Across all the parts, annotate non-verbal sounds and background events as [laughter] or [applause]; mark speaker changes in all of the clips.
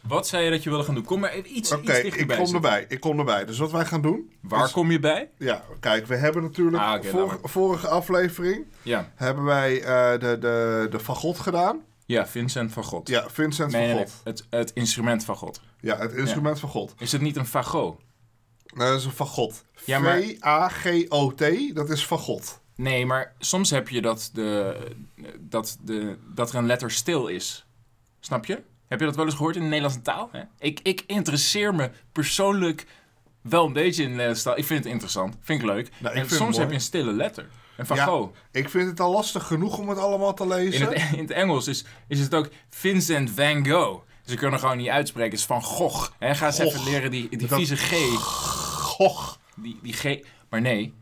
Speaker 1: Wat zei je dat je wilde gaan doen? Kom maar even iets,
Speaker 2: Oké,
Speaker 1: iets
Speaker 2: ik
Speaker 1: dichterbij.
Speaker 2: kom
Speaker 1: zitten.
Speaker 2: erbij. Ik kom erbij. Dus wat wij gaan doen.
Speaker 1: Waar
Speaker 2: is-
Speaker 1: kom je bij?
Speaker 2: Ja, kijk, we hebben natuurlijk.
Speaker 1: Ah, oké,
Speaker 2: vor-
Speaker 1: laat maar.
Speaker 2: vorige aflevering
Speaker 1: Ja,
Speaker 2: hebben wij eh, de, de, de Van God gedaan.
Speaker 1: ja Vincent van God.
Speaker 2: Ja, Vincent
Speaker 1: nee, nee,
Speaker 2: van
Speaker 1: nee.
Speaker 2: God.
Speaker 1: Het, het instrument van God.
Speaker 2: Ja, het instrument van God.
Speaker 1: Is het niet een fagot?
Speaker 2: Nou, dat is een van God.
Speaker 1: Ja, maar-
Speaker 2: V-A-G-O-T, dat is van God.
Speaker 1: Nee, maar soms heb je dat, de, dat, de, dat er een letter stil is. Snap je? Heb je dat wel eens gehoord in de Nederlandse taal? Hè? Ik, ik interesseer me persoonlijk wel een beetje in de Nederlandse taal. Ik vind het interessant. Vind ik leuk.
Speaker 2: Nou, vind
Speaker 1: en
Speaker 2: het
Speaker 1: soms
Speaker 2: mooi.
Speaker 1: heb je een stille letter. Een
Speaker 2: Ja,
Speaker 1: fagot.
Speaker 2: Ik vind het al lastig genoeg om het allemaal te
Speaker 1: In
Speaker 2: lezen.
Speaker 1: het, E- in het Engels is, is het ook Vincent van Gogh. Ze kunnen gewoon niet uitspreken. Het is van Gogh. Hè, ga eens
Speaker 2: Gogh.
Speaker 1: even leren die, die
Speaker 2: Dat-
Speaker 1: vieze G.
Speaker 2: Goch,
Speaker 1: Die, die G. Maar nee.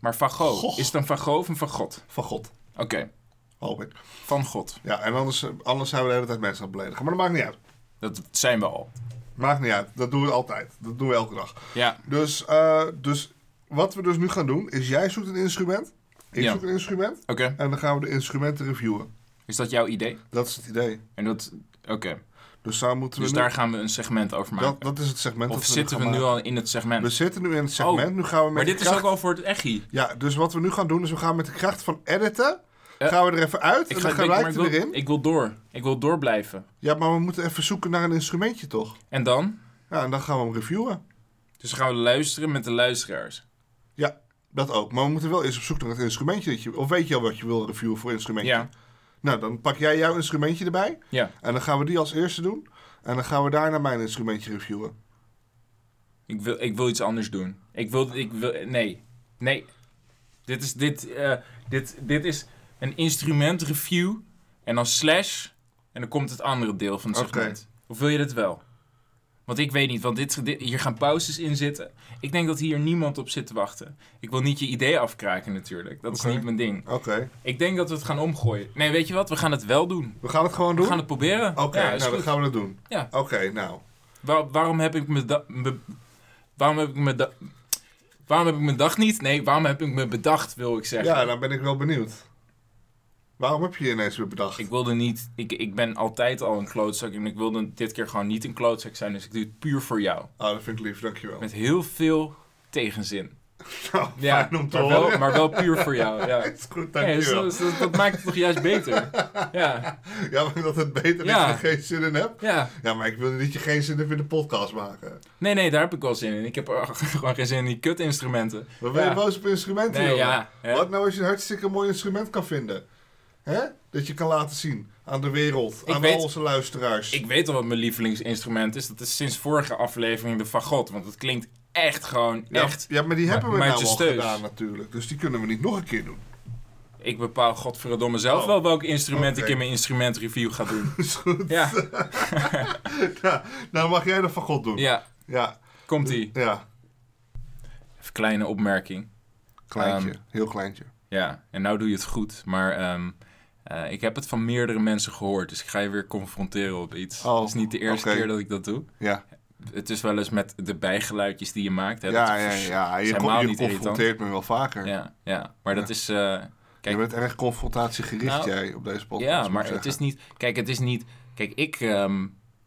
Speaker 1: Maar van Gogh.
Speaker 2: Gogh.
Speaker 1: Is het een van Gogh of een van God?
Speaker 2: van God,
Speaker 1: Oké.
Speaker 2: hoop ik.
Speaker 1: Van God.
Speaker 2: Ja, en anders, eh, anders zijn we de hele tijd mensen aan het beledigen. Maar dat maakt niet uit.
Speaker 1: Dat zijn we al.
Speaker 2: Maakt niet uit. Dat doen we altijd. Dat doen we elke dag.
Speaker 1: Ja.
Speaker 2: Dus, eh, dus wat we dus nu gaan doen, is jij zoekt een instrument. Ik
Speaker 1: Ja.
Speaker 2: zoek een instrument.
Speaker 1: Oké.
Speaker 2: En dan gaan we de instrumenten reviewen.
Speaker 1: Is dat jouw idee?
Speaker 2: Dat is het idee.
Speaker 1: En dat. Oké.
Speaker 2: Dus daar moeten we
Speaker 1: Dus
Speaker 2: nu-
Speaker 1: daar gaan we een segment over maken.
Speaker 2: dat, dat is het segment
Speaker 1: of
Speaker 2: dat we
Speaker 1: zitten we
Speaker 2: gaan
Speaker 1: nu
Speaker 2: maken.
Speaker 1: al in het segment?
Speaker 2: We zitten nu in het segment.
Speaker 1: Oh,
Speaker 2: nu gaan we met
Speaker 1: maar dit
Speaker 2: de
Speaker 1: is
Speaker 2: kracht-
Speaker 1: ook al voor het echi.
Speaker 2: Ja, dus wat we nu gaan doen is we gaan met de kracht van editen.
Speaker 1: Eh,
Speaker 2: gaan we er even uit en dan gaan wij
Speaker 1: ik,
Speaker 2: er
Speaker 1: wil,
Speaker 2: weer in.
Speaker 1: ik wil door. Ik wil door blijven.
Speaker 2: Ja, maar we moeten even zoeken naar een instrumentje toch?
Speaker 1: En dan?
Speaker 2: Ja, en dan gaan we hem reviewen.
Speaker 1: Dus gaan we luisteren met de luisteraars.
Speaker 2: Ja, dat ook. Maar we moeten wel eerst op zoek naar het instrumentje. Dat je, of weet je al wat je wil reviewen voor instrumentje?
Speaker 1: Ja.
Speaker 2: Nou, dan pak jij jouw instrumentje erbij.
Speaker 1: Ja.
Speaker 2: En dan gaan we die als eerste doen. En dan gaan we daarna mijn instrumentje reviewen.
Speaker 1: Ik wil, ik wil iets anders doen. Ik wil, ik wil, nee. Nee. Dit is, dit, eh, dit, dit is een instrument review. En dan slash. En dan komt het andere deel van het
Speaker 2: Oké.
Speaker 1: segment. Of wil je dit wel? Want ik weet niet, want dit, dit- hier gaan pauzes in zitten. Ik denk dat hier niemand op zit te wachten. Ik wil niet je idee afkraken natuurlijk. Dat is
Speaker 2: Oké.
Speaker 1: niet mijn ding.
Speaker 2: Oké.
Speaker 1: Ik denk dat we het gaan omgooien. Nee, weet je wat? We gaan het wel doen.
Speaker 2: We gaan het gewoon
Speaker 1: We
Speaker 2: doen?
Speaker 1: gaan het proberen.
Speaker 2: Oké,
Speaker 1: Ja, is
Speaker 2: nou dan
Speaker 1: goed.
Speaker 2: gaan we dat doen.
Speaker 1: Ja.
Speaker 2: Oké, nou.
Speaker 1: Waar- waarom heb ik me da- me- waarom heb ik me da- waarom heb ik mijn dag niet? Nee, waarom heb ik me bedacht, wil ik zeggen.
Speaker 2: Ja, dan ben ik wel benieuwd. Waarom heb je je ineens weer bedacht?
Speaker 1: Ik wilde niet, ik, ik ben altijd al een klootzak en ik wilde dit keer gewoon niet een klootzak zijn, dus ik doe het puur voor jou.
Speaker 2: Ah, dat vind ik lief, dankjewel.
Speaker 1: Met heel veel tegenzin.
Speaker 2: Nou,
Speaker 1: Ja,
Speaker 2: fijn om te
Speaker 1: maar, wel,
Speaker 2: horen.
Speaker 1: maar wel puur voor jou. Ja.
Speaker 2: [laughs] Is goed,
Speaker 1: Nee, dus
Speaker 2: dankjewel.
Speaker 1: dat, dat- dat maakt het toch juist
Speaker 2: [laughs]
Speaker 1: beter. Ja,
Speaker 2: Ja, maar dat het beter is
Speaker 1: Ja.
Speaker 2: dat je geen zin in hebt.
Speaker 1: ja.
Speaker 2: Ja, maar ik wil niet dat je geen zin hebt in de podcast maken.
Speaker 1: Nee, nee, daar heb ik wel zin in. Ik heb er [laughs] gewoon geen zin in die kutinstrumenten.
Speaker 2: We ben
Speaker 1: Ja.
Speaker 2: je boos op instrumenten,
Speaker 1: Nee,
Speaker 2: jongen?
Speaker 1: ja. hè?
Speaker 2: Wat nou als je een hartstikke mooi instrument kan vinden? Hè? Dat je kan laten zien aan de wereld,
Speaker 1: Ik
Speaker 2: aan
Speaker 1: weet-
Speaker 2: al onze luisteraars.
Speaker 1: Ik weet al wat mijn lievelingsinstrument is. Dat is sinds vorige aflevering de fagot. Want het klinkt echt gewoon
Speaker 2: ja,
Speaker 1: echt.
Speaker 2: Nou, ja, maar die hebben we
Speaker 1: Maar-
Speaker 2: nou al
Speaker 1: Maatjes Teus.
Speaker 2: gedaan natuurlijk. Dus die kunnen we niet nog een keer doen. [laughs]
Speaker 1: Ik bepaal godverdomme zelf
Speaker 2: Oh.
Speaker 1: wel welk instrument ik
Speaker 2: Oké.
Speaker 1: in mijn instrumentreview ga
Speaker 2: [laughs]
Speaker 1: doen.
Speaker 2: Is Dus goed.
Speaker 1: ja,
Speaker 2: Ja, nou mag jij dat van God doen.
Speaker 1: ja.
Speaker 2: ja.
Speaker 1: Komt ie.
Speaker 2: ja.
Speaker 1: Even kleine opmerking.
Speaker 2: Kleintje, heel kleintje.
Speaker 1: Ehm, Ja, en nou doe je het goed. Maar ehm, eh, ik heb het van meerdere mensen gehoord. Dus ik ga je weer confronteren op iets.
Speaker 2: Oh,
Speaker 1: het is niet de eerste
Speaker 2: oké.
Speaker 1: keer dat ik dat doe.
Speaker 2: Ja,
Speaker 1: Het is wel eens met de bijgeluidjes die je maakt. Hè, dat
Speaker 2: ja, ja,
Speaker 1: vers-
Speaker 2: ja.
Speaker 1: is
Speaker 2: Je,
Speaker 1: helemaal
Speaker 2: kon, je
Speaker 1: niet irritant.
Speaker 2: confronteert me wel vaker.
Speaker 1: ja, ja. Maar dat
Speaker 2: Ja.
Speaker 1: is... eh, Kijk-
Speaker 2: je bent erg confrontatiegericht
Speaker 1: Nou,
Speaker 2: jij op deze podcast. moet
Speaker 1: Ja,
Speaker 2: ik
Speaker 1: maar het
Speaker 2: zeggen.
Speaker 1: is niet. Kijk, het is niet. Kijk, ik, ehm,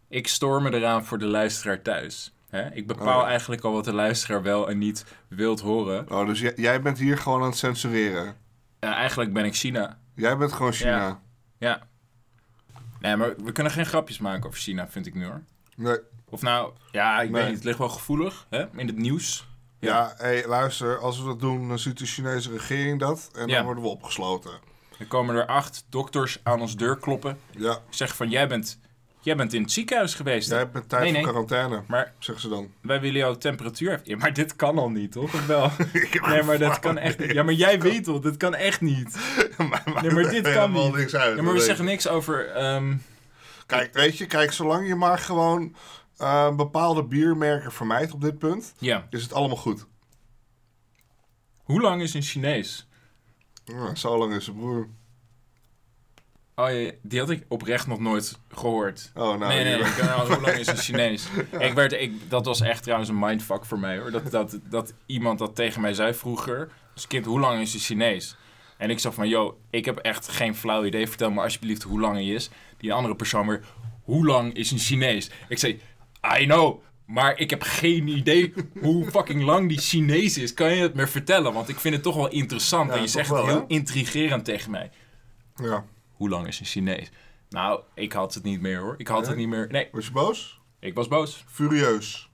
Speaker 1: ik stoor me eraan voor de luisteraar thuis. Hè? Ik bepaal
Speaker 2: Oh, ja.
Speaker 1: eigenlijk al wat de luisteraar wel en niet wilt horen.
Speaker 2: Oh, dus jij, jij bent hier gewoon aan het censureren.
Speaker 1: Ja, eigenlijk ben ik China.
Speaker 2: Jij bent gewoon China.
Speaker 1: Ja. Ja. Nee, maar we kunnen geen grapjes maken over China, vind ik nu hoor.
Speaker 2: Nee.
Speaker 1: Of nou, ja, ik
Speaker 2: Nee.
Speaker 1: weet niet. Het ligt wel gevoelig hè? in het nieuws. Ja.
Speaker 2: Ja, hey, luister, als we dat doen, dan ziet de Chinese regering dat en
Speaker 1: Ja.
Speaker 2: dan worden we opgesloten.
Speaker 1: Er komen er acht dokters aan ons deur kloppen.
Speaker 2: Ja,
Speaker 1: Zeggen van: Jij bent, jij bent in het ziekenhuis geweest.
Speaker 2: jij hebt een tijd
Speaker 1: Nee, nee.
Speaker 2: voor quarantaine,
Speaker 1: Maar
Speaker 2: zeggen ze dan. [laughs]
Speaker 1: wij willen jouw temperatuur. Ja, maar dit kan al niet, toch? Of wel?
Speaker 2: Ik heb
Speaker 1: Nee, maar dat
Speaker 2: geen
Speaker 1: kan
Speaker 2: flauw
Speaker 1: echt niet.
Speaker 2: idee.
Speaker 1: Ja, maar jij weet wel, dit kan echt niet.
Speaker 2: [laughs] Maar-
Speaker 1: Nee, maar dit kan
Speaker 2: helemaal
Speaker 1: niet.
Speaker 2: niks uit.
Speaker 1: Ja, maar we
Speaker 2: weet
Speaker 1: zeggen
Speaker 2: je.
Speaker 1: niks over... ehm,
Speaker 2: Kijk, weet je, kijk, zolang je maar gewoon eh, bepaalde biermerken vermijdt op dit punt,
Speaker 1: ja,
Speaker 2: is het allemaal goed.
Speaker 1: hoe lang is een Chinees?
Speaker 2: Ja, zo lang is het broer.
Speaker 1: Oh, ja, die had ik oprecht nog nooit gehoord.
Speaker 2: Oh, nou,
Speaker 1: nee, nee,
Speaker 2: hier-
Speaker 1: ik kan al- hoe
Speaker 2: [laughs]
Speaker 1: lang is een Chinees? Ik werd, ik, dat was echt trouwens een mindfuck voor mij, hoor. Dat, dat, dat iemand dat tegen mij zei vroeger. Als kind, hoe lang is een Chinees? En ik zei van, yo, ik heb echt geen flauw idee. Vertel me alsjeblieft hoe lang hij is. Die andere persoon weer, hoe lang is een Chinees? Ik zei, I know, maar ik heb geen idee hoe fucking lang die Chinees is. Kan je het me vertellen? Want ik vind het toch wel interessant.
Speaker 2: Ja,
Speaker 1: en je
Speaker 2: toch
Speaker 1: zegt
Speaker 2: wel,
Speaker 1: het heel
Speaker 2: hè?
Speaker 1: intrigerend tegen mij.
Speaker 2: Ja.
Speaker 1: Hoe lang is een Chinees? Nou, ik had het niet meer hoor. Ik had het
Speaker 2: Nee?
Speaker 1: niet meer. Nee,
Speaker 2: Was je boos?
Speaker 1: ik was boos.
Speaker 2: Furieus.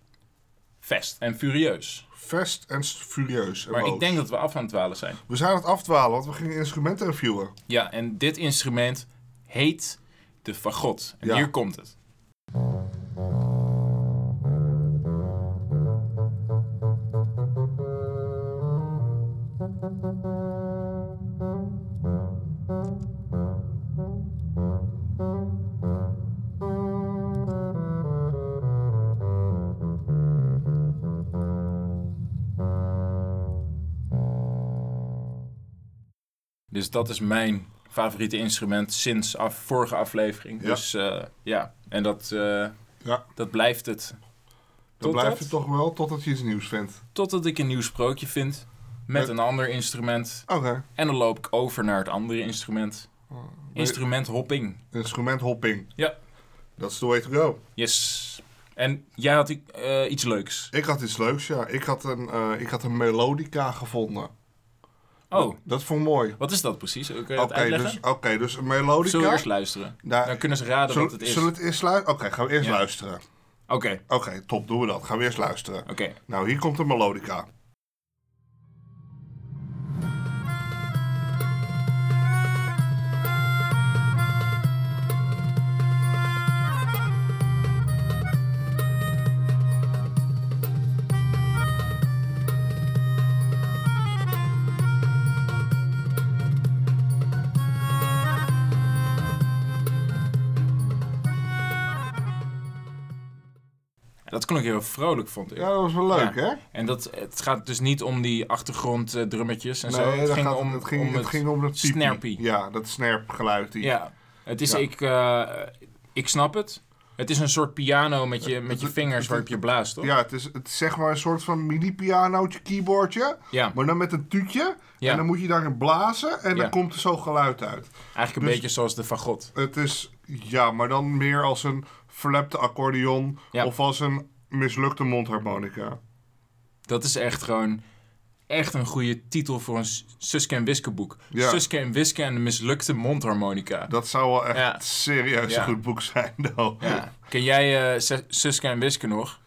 Speaker 1: Vest en furieus.
Speaker 2: Vest en s- furieus. En
Speaker 1: Maar
Speaker 2: boos.
Speaker 1: ik denk dat we af aan het dwalen zijn.
Speaker 2: We zijn aan het afdwalen, want we gingen instrumenten reviewen.
Speaker 1: Ja, en dit instrument heet de fagot. En
Speaker 2: Ja.
Speaker 1: hier komt het. Dus dat is mijn favoriete instrument sinds af, vorige aflevering.
Speaker 2: Ja.
Speaker 1: Dus eh, ja, en dat, eh,
Speaker 2: Ja.
Speaker 1: dat blijft het.
Speaker 2: Dan blijf je
Speaker 1: Totdat-
Speaker 2: toch wel totdat je iets nieuws vindt.
Speaker 1: Totdat ik een nieuw sprookje vind met
Speaker 2: Met-
Speaker 1: een ander instrument.
Speaker 2: Oké.
Speaker 1: En dan loop ik over naar het andere instrument. Instrumenthopping.
Speaker 2: Instrumenthopping.
Speaker 1: Ja.
Speaker 2: That's the way to go.
Speaker 1: Yes. En jij had i- eh, iets leuks.
Speaker 2: Ik had iets leuks, ja. Ik had een, eh, ik had een melodica gevonden.
Speaker 1: Oh,
Speaker 2: Dat vond ik mooi.
Speaker 1: wat is dat precies? Kun je dat
Speaker 2: Oké,
Speaker 1: uitleggen?
Speaker 2: dus, oké, dus een
Speaker 1: Zullen we
Speaker 2: melodica.
Speaker 1: eerst luisteren?
Speaker 2: Nou,
Speaker 1: Dan kunnen ze raden
Speaker 2: zullen,
Speaker 1: wat het is.
Speaker 2: zullen
Speaker 1: Oké,
Speaker 2: we het eerst luisteren? Oké, gaan we eerst
Speaker 1: Ja.
Speaker 2: luisteren.
Speaker 1: oké.
Speaker 2: Oké, top, doen we dat. Gaan we eerst luisteren. Nou, hier komt de melodica.
Speaker 1: Dat klonk heel vrolijk, vond ik.
Speaker 2: Ja, dat was wel leuk,
Speaker 1: Ja.
Speaker 2: hè?
Speaker 1: En dat, het gaat dus niet om die achtergronddrummetjes en zo.
Speaker 2: Nee,
Speaker 1: Het
Speaker 2: dat
Speaker 1: ging,
Speaker 2: gaat-
Speaker 1: om,
Speaker 2: het ging,
Speaker 1: om
Speaker 2: het ging om dat piepie.
Speaker 1: snerpie.
Speaker 2: Ja, dat snerpgeluid. Die,
Speaker 1: Ja, het is,
Speaker 2: Ja.
Speaker 1: ik, eh, ik snap het. Het is een soort piano met je, met je
Speaker 2: het-
Speaker 1: vingers
Speaker 2: het-
Speaker 1: waarop je blaast, toch?
Speaker 2: Ja, het is, het is zeg maar een soort van mini-pianootje, keyboardje.
Speaker 1: Ja,
Speaker 2: Maar dan met een tuutje.
Speaker 1: Ja.
Speaker 2: En dan moet je daarin blazen. En
Speaker 1: Ja.
Speaker 2: dan komt er zo geluid uit.
Speaker 1: eigenlijk een
Speaker 2: dus-
Speaker 1: beetje zoals de fagot.
Speaker 2: Het is, ja, maar dan meer als een verlepte accordeon.
Speaker 1: Ja.
Speaker 2: Of als een mislukte mondharmonica.
Speaker 1: Dat is echt gewoon echt een goede titel voor een Sus- Suske en Wiske boek.
Speaker 2: Ja.
Speaker 1: Suske en Wiske en de mislukte mondharmonica.
Speaker 2: Dat zou wel echt
Speaker 1: Ja.
Speaker 2: serieus
Speaker 1: Ja.
Speaker 2: een goed boek zijn, [laughs] though.
Speaker 1: Ja. Ken jij eh, Sus- Suske en Wiske nog?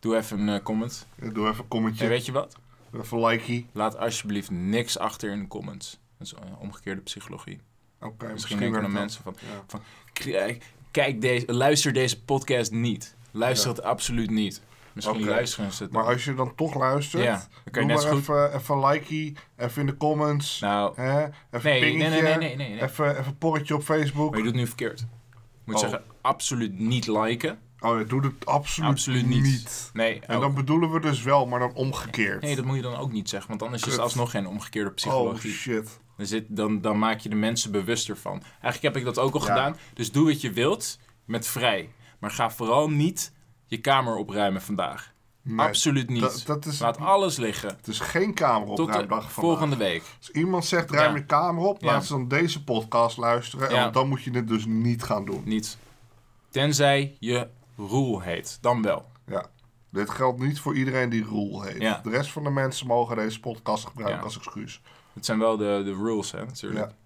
Speaker 1: Doe even een eh, comment.
Speaker 2: Doe even een
Speaker 1: En
Speaker 2: commentje.
Speaker 1: weet je wat?
Speaker 2: Doe Even likey.
Speaker 1: Laat alsjeblieft niks achter in de comments. Dat is eh, omgekeerde psychologie.
Speaker 2: Oké,
Speaker 1: Misschien
Speaker 2: misschien,
Speaker 1: denken de
Speaker 2: werkt
Speaker 1: mensen van...
Speaker 2: dat. Ja.
Speaker 1: Kijk, kijk deze, luister deze podcast niet. Luister het absoluut niet. Misschien
Speaker 2: Oké.
Speaker 1: luisteren ze het.
Speaker 2: Maar als je dan toch luistert,
Speaker 1: ja, dan kan
Speaker 2: doe
Speaker 1: je net
Speaker 2: maar
Speaker 1: zo goed.
Speaker 2: even, even een likey, even in de comments,
Speaker 1: Nou,
Speaker 2: hè? even
Speaker 1: nee, nee,
Speaker 2: pingetje,
Speaker 1: nee, nee, nee, nee, nee.
Speaker 2: Even, even een porretje op Facebook.
Speaker 1: Maar je doet het nu verkeerd. Je moet
Speaker 2: Oh.
Speaker 1: zeggen, absoluut niet liken.
Speaker 2: Oh, ja, doe het absoluut,
Speaker 1: Absoluut niet.
Speaker 2: niet.
Speaker 1: Nee,
Speaker 2: En
Speaker 1: oh.
Speaker 2: dan bedoelen we dus wel, maar dan omgekeerd.
Speaker 1: nee, dat moet je dan ook niet zeggen. Want anders is het
Speaker 2: Kut.
Speaker 1: alsnog geen omgekeerde
Speaker 2: oh
Speaker 1: psychologie.
Speaker 2: shit.
Speaker 1: dan, zit, dan, dan maak je de mensen bewuster van. Eigenlijk heb ik dat ook al
Speaker 2: Ja.
Speaker 1: gedaan. Dus doe wat je wilt, met vrij. Maar ga vooral niet je kamer opruimen vandaag.
Speaker 2: Nee,
Speaker 1: absoluut niet.
Speaker 2: Dat, dat is,
Speaker 1: Laat alles liggen.
Speaker 2: het is geen kamer op
Speaker 1: Tot de
Speaker 2: ruimdag
Speaker 1: volgende week.
Speaker 2: Als iemand zegt ruim
Speaker 1: Ja.
Speaker 2: je kamer op,
Speaker 1: Ja.
Speaker 2: laat ze dan deze podcast luisteren.
Speaker 1: Ja.
Speaker 2: En dan moet je het dus niet gaan doen.
Speaker 1: Niet. Tenzij je Roel heet. Dan wel.
Speaker 2: Ja. Dit geldt niet voor iedereen die Roel heet.
Speaker 1: Ja.
Speaker 2: De rest van de mensen mogen deze podcast gebruiken
Speaker 1: Ja.
Speaker 2: als excuus.
Speaker 1: Het zijn wel de, de rules, hè, natuurlijk.
Speaker 2: Ja.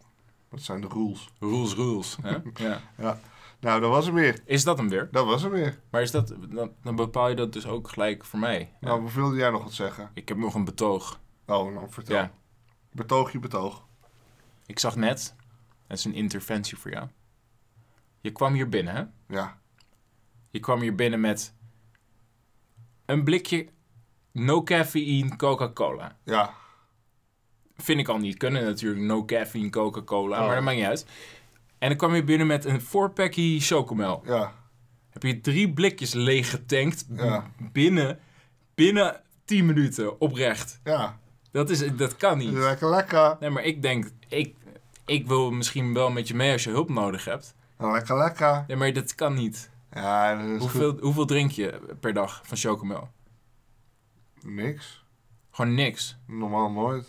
Speaker 2: Dat zijn de rules.
Speaker 1: Rules, rules.
Speaker 2: [laughs]
Speaker 1: Hè? ja.
Speaker 2: Ja, nou, dat was hem weer.
Speaker 1: Is dat hem weer?
Speaker 2: Dat was hem weer.
Speaker 1: Maar is dat, dan, dan bepaal je dat dus ook gelijk voor mij. Ja.
Speaker 2: Nou, wilde jij nog wat zeggen?
Speaker 1: Ik heb nog een betoog.
Speaker 2: Oh, nou, vertel.
Speaker 1: Ja.
Speaker 2: Betoog je betoog.
Speaker 1: Ik zag net, dat is een interventie voor jou. Je kwam hier binnen, hè?
Speaker 2: Ja.
Speaker 1: Je kwam hier binnen met een blikje no caffeine Coca-Cola.
Speaker 2: Ja.
Speaker 1: Vind ik al niet kunnen natuurlijk, no caffeine Coca-Cola,
Speaker 2: Oh.
Speaker 1: maar dat maakt niet uit. En dan kwam je binnen met een 4-packie chocomel.
Speaker 2: Ja.
Speaker 1: Heb je drie blikjes leeg getankt
Speaker 2: Ja.
Speaker 1: binnen, binnen 10 minuten, oprecht.
Speaker 2: Ja.
Speaker 1: Dat, is, dat kan niet.
Speaker 2: Lekker, lekker.
Speaker 1: Nee, maar ik denk, ik, ik wil misschien wel met je mee als je hulp nodig hebt.
Speaker 2: Lekker, lekker.
Speaker 1: Nee, maar dat kan niet.
Speaker 2: Ja, dat is
Speaker 1: Hoeveel, hoeveel drink je per dag van chocomel?
Speaker 2: goed. Niks.
Speaker 1: Gewoon niks.
Speaker 2: Normaal nooit.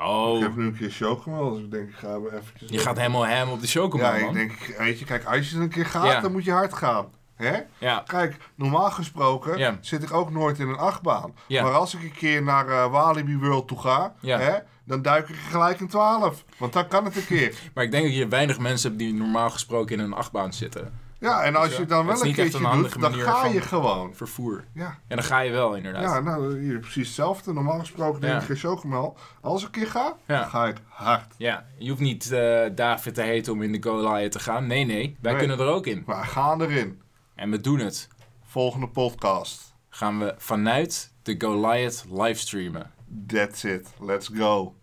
Speaker 1: Oh,
Speaker 2: Ik heb nu een keer chocomel, dus ik denk ik ga maar eventjes...
Speaker 1: je gaat helemaal hem op de chocomel,
Speaker 2: Ja, ik
Speaker 1: man.
Speaker 2: denk, weet je, kijk, als je er een keer gaat,
Speaker 1: Ja.
Speaker 2: dan moet je hard gaan. Hè?
Speaker 1: Ja,
Speaker 2: Kijk, normaal gesproken
Speaker 1: Ja.
Speaker 2: zit ik ook nooit in een achtbaan.
Speaker 1: Ja.
Speaker 2: Maar als ik een keer naar eh, Walibi World toe ga,
Speaker 1: Ja.
Speaker 2: hè, dan duik ik gelijk in 12. Want dan kan het een keer.
Speaker 1: maar ik denk dat je weinig mensen hebt die normaal gesproken in een achtbaan zitten.
Speaker 2: Ja, en als
Speaker 1: Ja.
Speaker 2: je dan
Speaker 1: Het is
Speaker 2: wel een
Speaker 1: niet echt
Speaker 2: keertje
Speaker 1: een handige
Speaker 2: doet, dan
Speaker 1: manier
Speaker 2: ga
Speaker 1: van-
Speaker 2: je gewoon.
Speaker 1: Vervoer.
Speaker 2: Ja,
Speaker 1: Ja, dan ga je wel, inderdaad.
Speaker 2: ja nou, hier precies hetzelfde. Normaal gesproken
Speaker 1: Ja.
Speaker 2: denk ik geen chocomel. Als ik een keer ga,
Speaker 1: Ja.
Speaker 2: dan ga ik hard.
Speaker 1: Ja, je hoeft niet eh, David te heten om in de Goliath te gaan. Nee, nee, wij
Speaker 2: Nee.
Speaker 1: kunnen er ook in.
Speaker 2: Maar gaan erin.
Speaker 1: En we doen het.
Speaker 2: Volgende podcast.
Speaker 1: Gaan we vanuit de Goliath livestreamen.
Speaker 2: That's it. Let's go.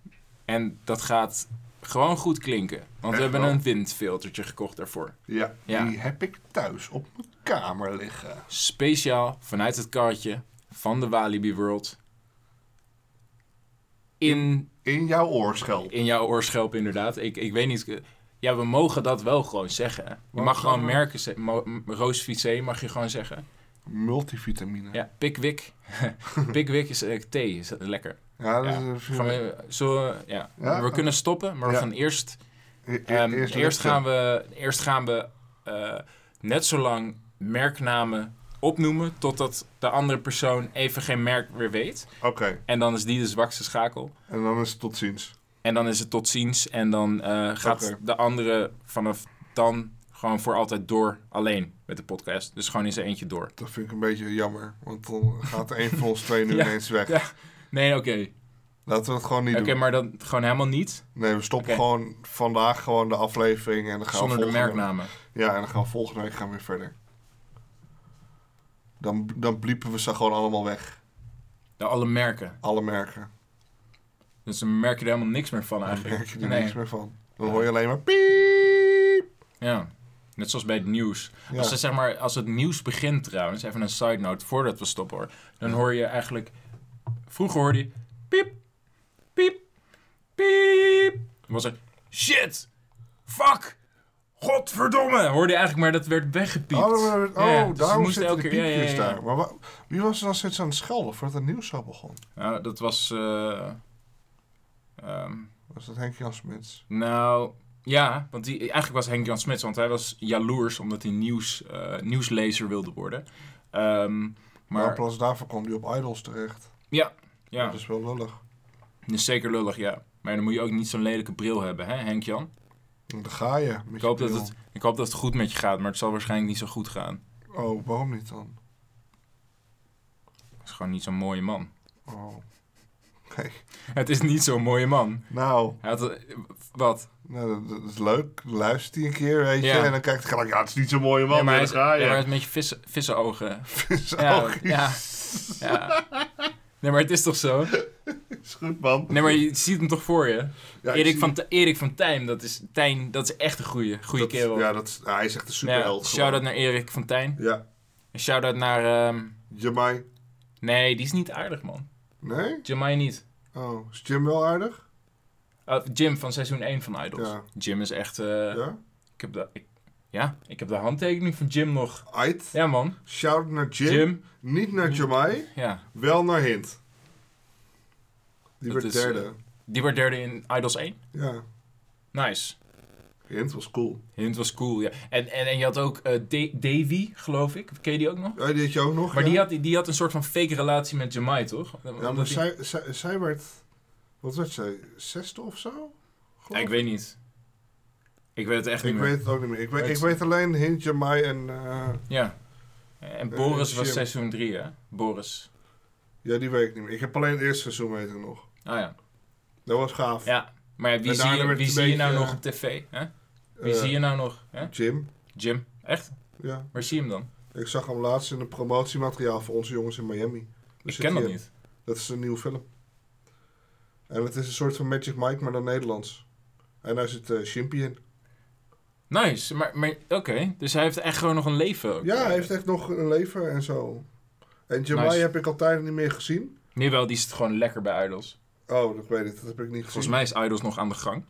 Speaker 1: En dat gaat gewoon goed klinken. Want
Speaker 2: Echt
Speaker 1: we hebben
Speaker 2: wel.
Speaker 1: een windfiltertje gekocht daarvoor.
Speaker 2: Ja,
Speaker 1: Ja.
Speaker 2: die heb ik thuis op mijn kamer liggen.
Speaker 1: Speciaal vanuit het karretje van de Walibi World. In,
Speaker 2: In jouw oorschelp.
Speaker 1: in jouw oorschelp inderdaad. Ik, ik weet niet... eh, Ja, we mogen dat wel gewoon zeggen. hè. Je
Speaker 2: Wat
Speaker 1: mag gewoon
Speaker 2: dan?
Speaker 1: merken... ze- mo- m- Roos Vissé mag je gewoon zeggen.
Speaker 2: Multivitamine.
Speaker 1: Ja, Pickwick.
Speaker 2: [laughs]
Speaker 1: Pickwick is eh, thee. Is dat lekker.
Speaker 2: Ja,
Speaker 1: Ja.
Speaker 2: dat is eh, een-
Speaker 1: Gaan we, zullen we- ja.
Speaker 2: Ja.
Speaker 1: we kunnen stoppen, maar we
Speaker 2: Ja.
Speaker 1: gaan eerst...
Speaker 2: E- e-
Speaker 1: ehm, eerst,
Speaker 2: luchten.
Speaker 1: gaan we, eerst gaan we eh, net zo lang merknamen opnoemen... totdat de andere persoon even geen merk weer weet.
Speaker 2: Oké,
Speaker 1: En dan is die de zwakste schakel.
Speaker 2: en dan is het tot ziens.
Speaker 1: En dan is het tot ziens. En dan eh, gaat
Speaker 2: Oké.
Speaker 1: de andere vanaf dan gewoon voor altijd door alleen met de podcast. Dus gewoon in zijn eentje door.
Speaker 2: Dat vind ik een beetje jammer, want dan
Speaker 1: [laughs]
Speaker 2: gaat er één van ons twee nu
Speaker 1: Ja.
Speaker 2: ineens weg.
Speaker 1: Ja. Nee, oké.
Speaker 2: Laten we het gewoon niet
Speaker 1: Oké,
Speaker 2: doen.
Speaker 1: maar dan gewoon helemaal niet.
Speaker 2: Nee, we stoppen
Speaker 1: Oké.
Speaker 2: gewoon vandaag gewoon de aflevering en dan gaan
Speaker 1: Zonder
Speaker 2: we
Speaker 1: de
Speaker 2: volgende...
Speaker 1: merknamen.
Speaker 2: Ja, en dan gaan we volgende week gaan we weer verder. Dan, dan bliepen we ze gewoon allemaal weg.
Speaker 1: De alle merken.
Speaker 2: Alle merken.
Speaker 1: Dus dan merk je er helemaal niks meer van
Speaker 2: Dan
Speaker 1: eigenlijk.
Speaker 2: merk je er
Speaker 1: Nee.
Speaker 2: niks meer van. Dan hoor je alleen maar piep.
Speaker 1: Ja. Net zoals bij het nieuws.
Speaker 2: Ja.
Speaker 1: Als, ze, zeg maar, als het nieuws begint trouwens, even een side note voordat we stoppen hoor. Dan hoor je eigenlijk. Vroeger hoorde je. Piep, piep, piep. Dan was er. Shit, fuck, godverdomme. Hoorde je eigenlijk maar dat werd weggepiept.
Speaker 2: Oh, dan- oh,
Speaker 1: Ja, ja, dus ze
Speaker 2: daarom
Speaker 1: moesten
Speaker 2: zitten
Speaker 1: elke
Speaker 2: de
Speaker 1: keer- ja, ja,
Speaker 2: piepjes
Speaker 1: ja.
Speaker 2: daar. Maar wa- wie was er dan steeds aan het schelden voordat het nieuws zo begon?
Speaker 1: Nou, dat was. eh, ehm,
Speaker 2: Was dat Henk Jan Smits?
Speaker 1: nou, ja, want die, eigenlijk was Henk Jan Smits, want hij was jaloers omdat hij nieuws, eh, nieuwslezer wilde worden. Ehm,
Speaker 2: Maar Nou, in
Speaker 1: maar
Speaker 2: plaats daarvan kwam hij op Idols terecht.
Speaker 1: ja,
Speaker 2: Dat is wel lullig.
Speaker 1: Dat is zeker lullig, ja. Maar dan moet je ook niet zo'n lelijke bril hebben, hè, Henk-Jan?
Speaker 2: En Daar ga je. met
Speaker 1: Ik
Speaker 2: je
Speaker 1: hoop, dat
Speaker 2: bril.
Speaker 1: het, ik hoop dat het goed met je gaat, maar het zal waarschijnlijk niet zo goed gaan.
Speaker 2: Oh, waarom niet dan?
Speaker 1: Het is gewoon niet zo'n mooie man.
Speaker 2: Oh. Oké.
Speaker 1: Het is niet zo'n mooie man.
Speaker 2: Nou,
Speaker 1: Hij had, eh, wat?
Speaker 2: nou, dat- dat is leuk. Luistert hij een keer, weet je.
Speaker 1: Ja.
Speaker 2: En dan kijkt hij gelijk, ja, het is niet zo'n mooie man,
Speaker 1: Ja, maar
Speaker 2: maar
Speaker 1: hij
Speaker 2: daar
Speaker 1: is,
Speaker 2: ga
Speaker 1: ja, maar hij
Speaker 2: [laughs] je.
Speaker 1: is een beetje vissen, vissenogen.
Speaker 2: Is
Speaker 1: Ja,
Speaker 2: ook
Speaker 1: ja. ja. Nee, maar het is toch zo?
Speaker 2: is goed, man.
Speaker 1: Nee, maar je ziet hem toch voor je?
Speaker 2: Ja, ik
Speaker 1: Erik,
Speaker 2: zie-
Speaker 1: van, T- Erik van Tijn, dat is, Tijn, dat is echt een goeie, goeie
Speaker 2: dat-
Speaker 1: kerel.
Speaker 2: Ja, dat, is- nou, hij is echt een
Speaker 1: Nou ja,
Speaker 2: superheld.
Speaker 1: shout-out
Speaker 2: gewoon.
Speaker 1: naar Erik van Tijn.
Speaker 2: Ja.
Speaker 1: En shout-out naar... ehm,
Speaker 2: Jamai.
Speaker 1: nee, die is niet aardig, man.
Speaker 2: Nee?
Speaker 1: Jamai niet.
Speaker 2: Oh, is Jim wel aardig?
Speaker 1: Eh, Jim van seizoen 1 van Idols.
Speaker 2: Ja.
Speaker 1: Jim is echt. eh,
Speaker 2: Ja?
Speaker 1: ik, heb de, ik, ja, ik heb de handtekening van Jim nog.
Speaker 2: Ait.
Speaker 1: Ja, man.
Speaker 2: Shout naar Jim.
Speaker 1: Jim.
Speaker 2: Niet naar Jamai.
Speaker 1: Ja.
Speaker 2: Wel naar Hint. Die
Speaker 1: Dat
Speaker 2: werd
Speaker 1: is, eh,
Speaker 2: derde.
Speaker 1: Die werd derde in Idols 1.
Speaker 2: Ja.
Speaker 1: Nice.
Speaker 2: Hint was cool.
Speaker 1: Hint was cool, ja. En, en, en je had ook eh, Da- Davy, geloof ik. Ken je die ook nog?
Speaker 2: Ja, die had je ook nog.
Speaker 1: Maar
Speaker 2: ja.
Speaker 1: die, had, die had een soort van fake relatie met Jamai, toch?
Speaker 2: Ja,
Speaker 1: Omdat
Speaker 2: maar
Speaker 1: die-
Speaker 2: zij, zij, zij werd... Wat werd zij? Zesde of zo?
Speaker 1: Ja,
Speaker 2: Geloof
Speaker 1: ik weet niet. Ik weet het echt
Speaker 2: ik
Speaker 1: niet meer.
Speaker 2: weet het ook niet meer. Ik weet,
Speaker 1: Het-
Speaker 2: ik weet alleen Hint, Jamai en... eh,
Speaker 1: Ja. En
Speaker 2: Eh,
Speaker 1: Boris was
Speaker 2: Jim.
Speaker 1: seizoen 3, hè? Boris.
Speaker 2: ja, die weet ik niet meer. Ik heb alleen het eerste seizoen weet ik nog.
Speaker 1: Ah ja.
Speaker 2: Dat was gaaf.
Speaker 1: Ja. Maar wie
Speaker 2: En
Speaker 1: zie
Speaker 2: daarna
Speaker 1: je,
Speaker 2: werd
Speaker 1: wie
Speaker 2: het
Speaker 1: zie
Speaker 2: een
Speaker 1: je nou
Speaker 2: beetje,
Speaker 1: nog op tv? Hè?
Speaker 2: Eh,
Speaker 1: Wie zie je nou nog? Hè?
Speaker 2: Jim.
Speaker 1: Jim. Echt?
Speaker 2: Ja.
Speaker 1: Waar zie je hem dan?
Speaker 2: Ik zag hem laatst in een promotiemateriaal voor onze jongens in Miami. Dus
Speaker 1: ik ken
Speaker 2: zit
Speaker 1: dat
Speaker 2: hij-
Speaker 1: niet.
Speaker 2: Dat is een nieuwe film. En het is een soort van Magic Mike, maar dan Nederlands. En daar zit eh Shimpy in.
Speaker 1: Nice, maar, maar oké. Dus hij heeft echt gewoon nog een leven. ook.
Speaker 2: Ja, hij heeft echt nog een leven en zo. En Jamai
Speaker 1: Nice.
Speaker 2: heb ik al tijden niet meer gezien.
Speaker 1: Nee, wel, die zit gewoon lekker bij Idols.
Speaker 2: Oh, dat weet ik. Dat heb ik niet gezien.
Speaker 1: Volgens mij is Idols nog aan de gang.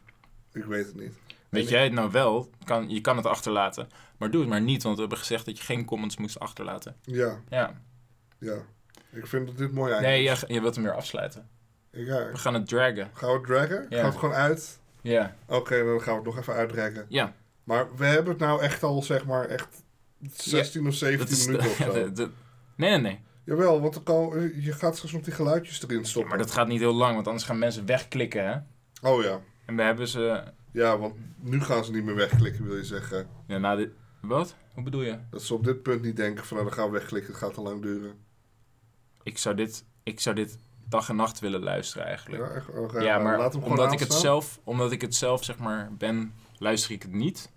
Speaker 2: Ik weet het niet.
Speaker 1: Weet jij het nou wel? Kan, je kan het achterlaten. Maar doe het maar niet, want we hebben gezegd dat je geen comments moest achterlaten.
Speaker 2: Ja,
Speaker 1: Ja.
Speaker 2: ja. Ik vind dat dit mooi einde
Speaker 1: Nee,
Speaker 2: is.
Speaker 1: je, je wilt hem weer afsluiten.
Speaker 2: Ja.
Speaker 1: We gaan het draggen.
Speaker 2: Gaan we het draggen?
Speaker 1: Ja.
Speaker 2: Gaan we het gewoon uit?
Speaker 1: Ja.
Speaker 2: Oké, dan gaan we het nog even uitdraggen.
Speaker 1: Ja.
Speaker 2: Maar we hebben het nou echt al, zeg maar, echt 16 of 17
Speaker 1: Dat is [laughs]
Speaker 2: minuten of
Speaker 1: ja,
Speaker 2: zo.
Speaker 1: dat- dat- nee, nee, nee.
Speaker 2: Jawel, want dan kan, je gaat straks nog die geluidjes erin stoppen.
Speaker 1: Maar dat gaat niet heel lang, want anders gaan mensen wegklikken, hè.
Speaker 2: Oh ja.
Speaker 1: En we hebben ze...
Speaker 2: Ja, want nu gaan ze niet meer wegklikken, wil je zeggen.
Speaker 1: Ja, nou, dit... Wat? Hoe bedoel je?
Speaker 2: Dat ze op dit punt niet denken van, nou, dan gaan we wegklikken, het gaat te lang duren.
Speaker 1: Ik zou dit, ik zou dit dag en nacht willen luisteren, eigenlijk.
Speaker 2: Ja, echt, oké,
Speaker 1: Ja,
Speaker 2: nou,
Speaker 1: maar
Speaker 2: laat hem gewoon
Speaker 1: omdat ik, het
Speaker 2: aanstaan.
Speaker 1: zelf, omdat ik het zelf zeg maar ben, luister ik het niet.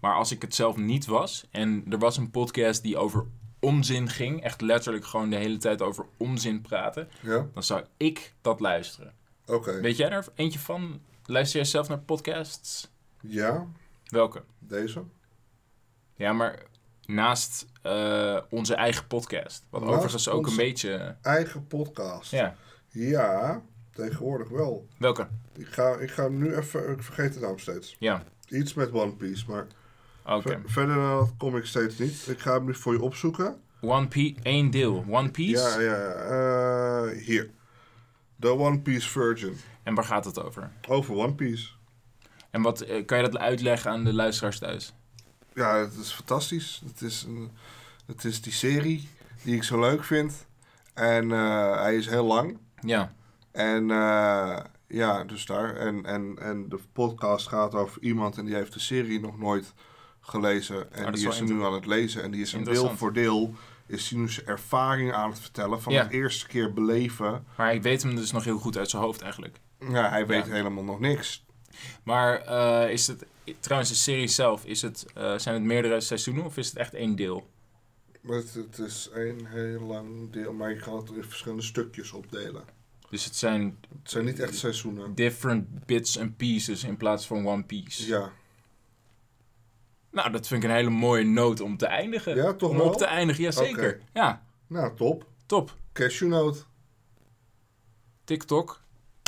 Speaker 1: Maar als ik het zelf niet was en er was een podcast die over onzin ging, echt letterlijk gewoon de hele tijd over onzin praten,
Speaker 2: Ja,
Speaker 1: dan zou ik dat luisteren.
Speaker 2: oké.
Speaker 1: Weet jij er eentje van? Luister jij zelf naar podcasts?
Speaker 2: Ja,
Speaker 1: Welke?
Speaker 2: deze.
Speaker 1: Ja, maar naast eh, onze eigen podcast. Wat
Speaker 2: Naast
Speaker 1: overigens ook een
Speaker 2: onze-
Speaker 1: beetje.
Speaker 2: Eigen podcast.
Speaker 1: Ja,
Speaker 2: Ja, tegenwoordig wel.
Speaker 1: welke?
Speaker 2: Ik ga, ik ga nu even, ik vergeet de naam steeds.
Speaker 1: Ja,
Speaker 2: Iets met One Piece, maar
Speaker 1: oké.
Speaker 2: ver- verder dan dat kom ik steeds niet. Ik ga hem nu voor je opzoeken.
Speaker 1: One Piece, één deel. One Piece.
Speaker 2: Ja, ja, ja. Eh, hier. The One Piece Virgin.
Speaker 1: En waar gaat het over?
Speaker 2: Over One Piece.
Speaker 1: En wat, eh, kan je dat uitleggen aan de luisteraars thuis?
Speaker 2: Ja, het is fantastisch. Het is, een, het is die serie die ik zo leuk vind. En eh, hij is heel lang.
Speaker 1: Ja,
Speaker 2: En eh, ja, dus daar. En, en, en de podcast gaat over iemand en die heeft de serie nog nooit gelezen. En
Speaker 1: Oh, dat is
Speaker 2: die
Speaker 1: wel
Speaker 2: is er nu aan het lezen. En die is een deel
Speaker 1: Interessant.
Speaker 2: voor deel. Is die nu zijn ervaring aan het vertellen van
Speaker 1: Ja.
Speaker 2: het eerste keer beleven.
Speaker 1: maar ik weet hem dus nog heel goed uit zijn hoofd eigenlijk.
Speaker 2: Ja, hij weet
Speaker 1: Ja.
Speaker 2: helemaal nog niks.
Speaker 1: Maar eh, is het, trouwens, de serie zelf, is het, eh, zijn het meerdere seizoenen of is het echt één deel?
Speaker 2: Maar het, het is een heel lang deel. Maar je gaat het in verschillende stukjes opdelen.
Speaker 1: Dus het zijn
Speaker 2: Het zijn niet echt seizoenen.
Speaker 1: different bits and pieces in plaats van one piece.
Speaker 2: Ja,
Speaker 1: Nou, dat vind ik een hele mooie noot om te eindigen.
Speaker 2: ja toch
Speaker 1: om
Speaker 2: wel?
Speaker 1: op te eindigen, jazeker. Ja,
Speaker 2: Nou, top.
Speaker 1: top.
Speaker 2: Cashewnoot.
Speaker 1: TikTok,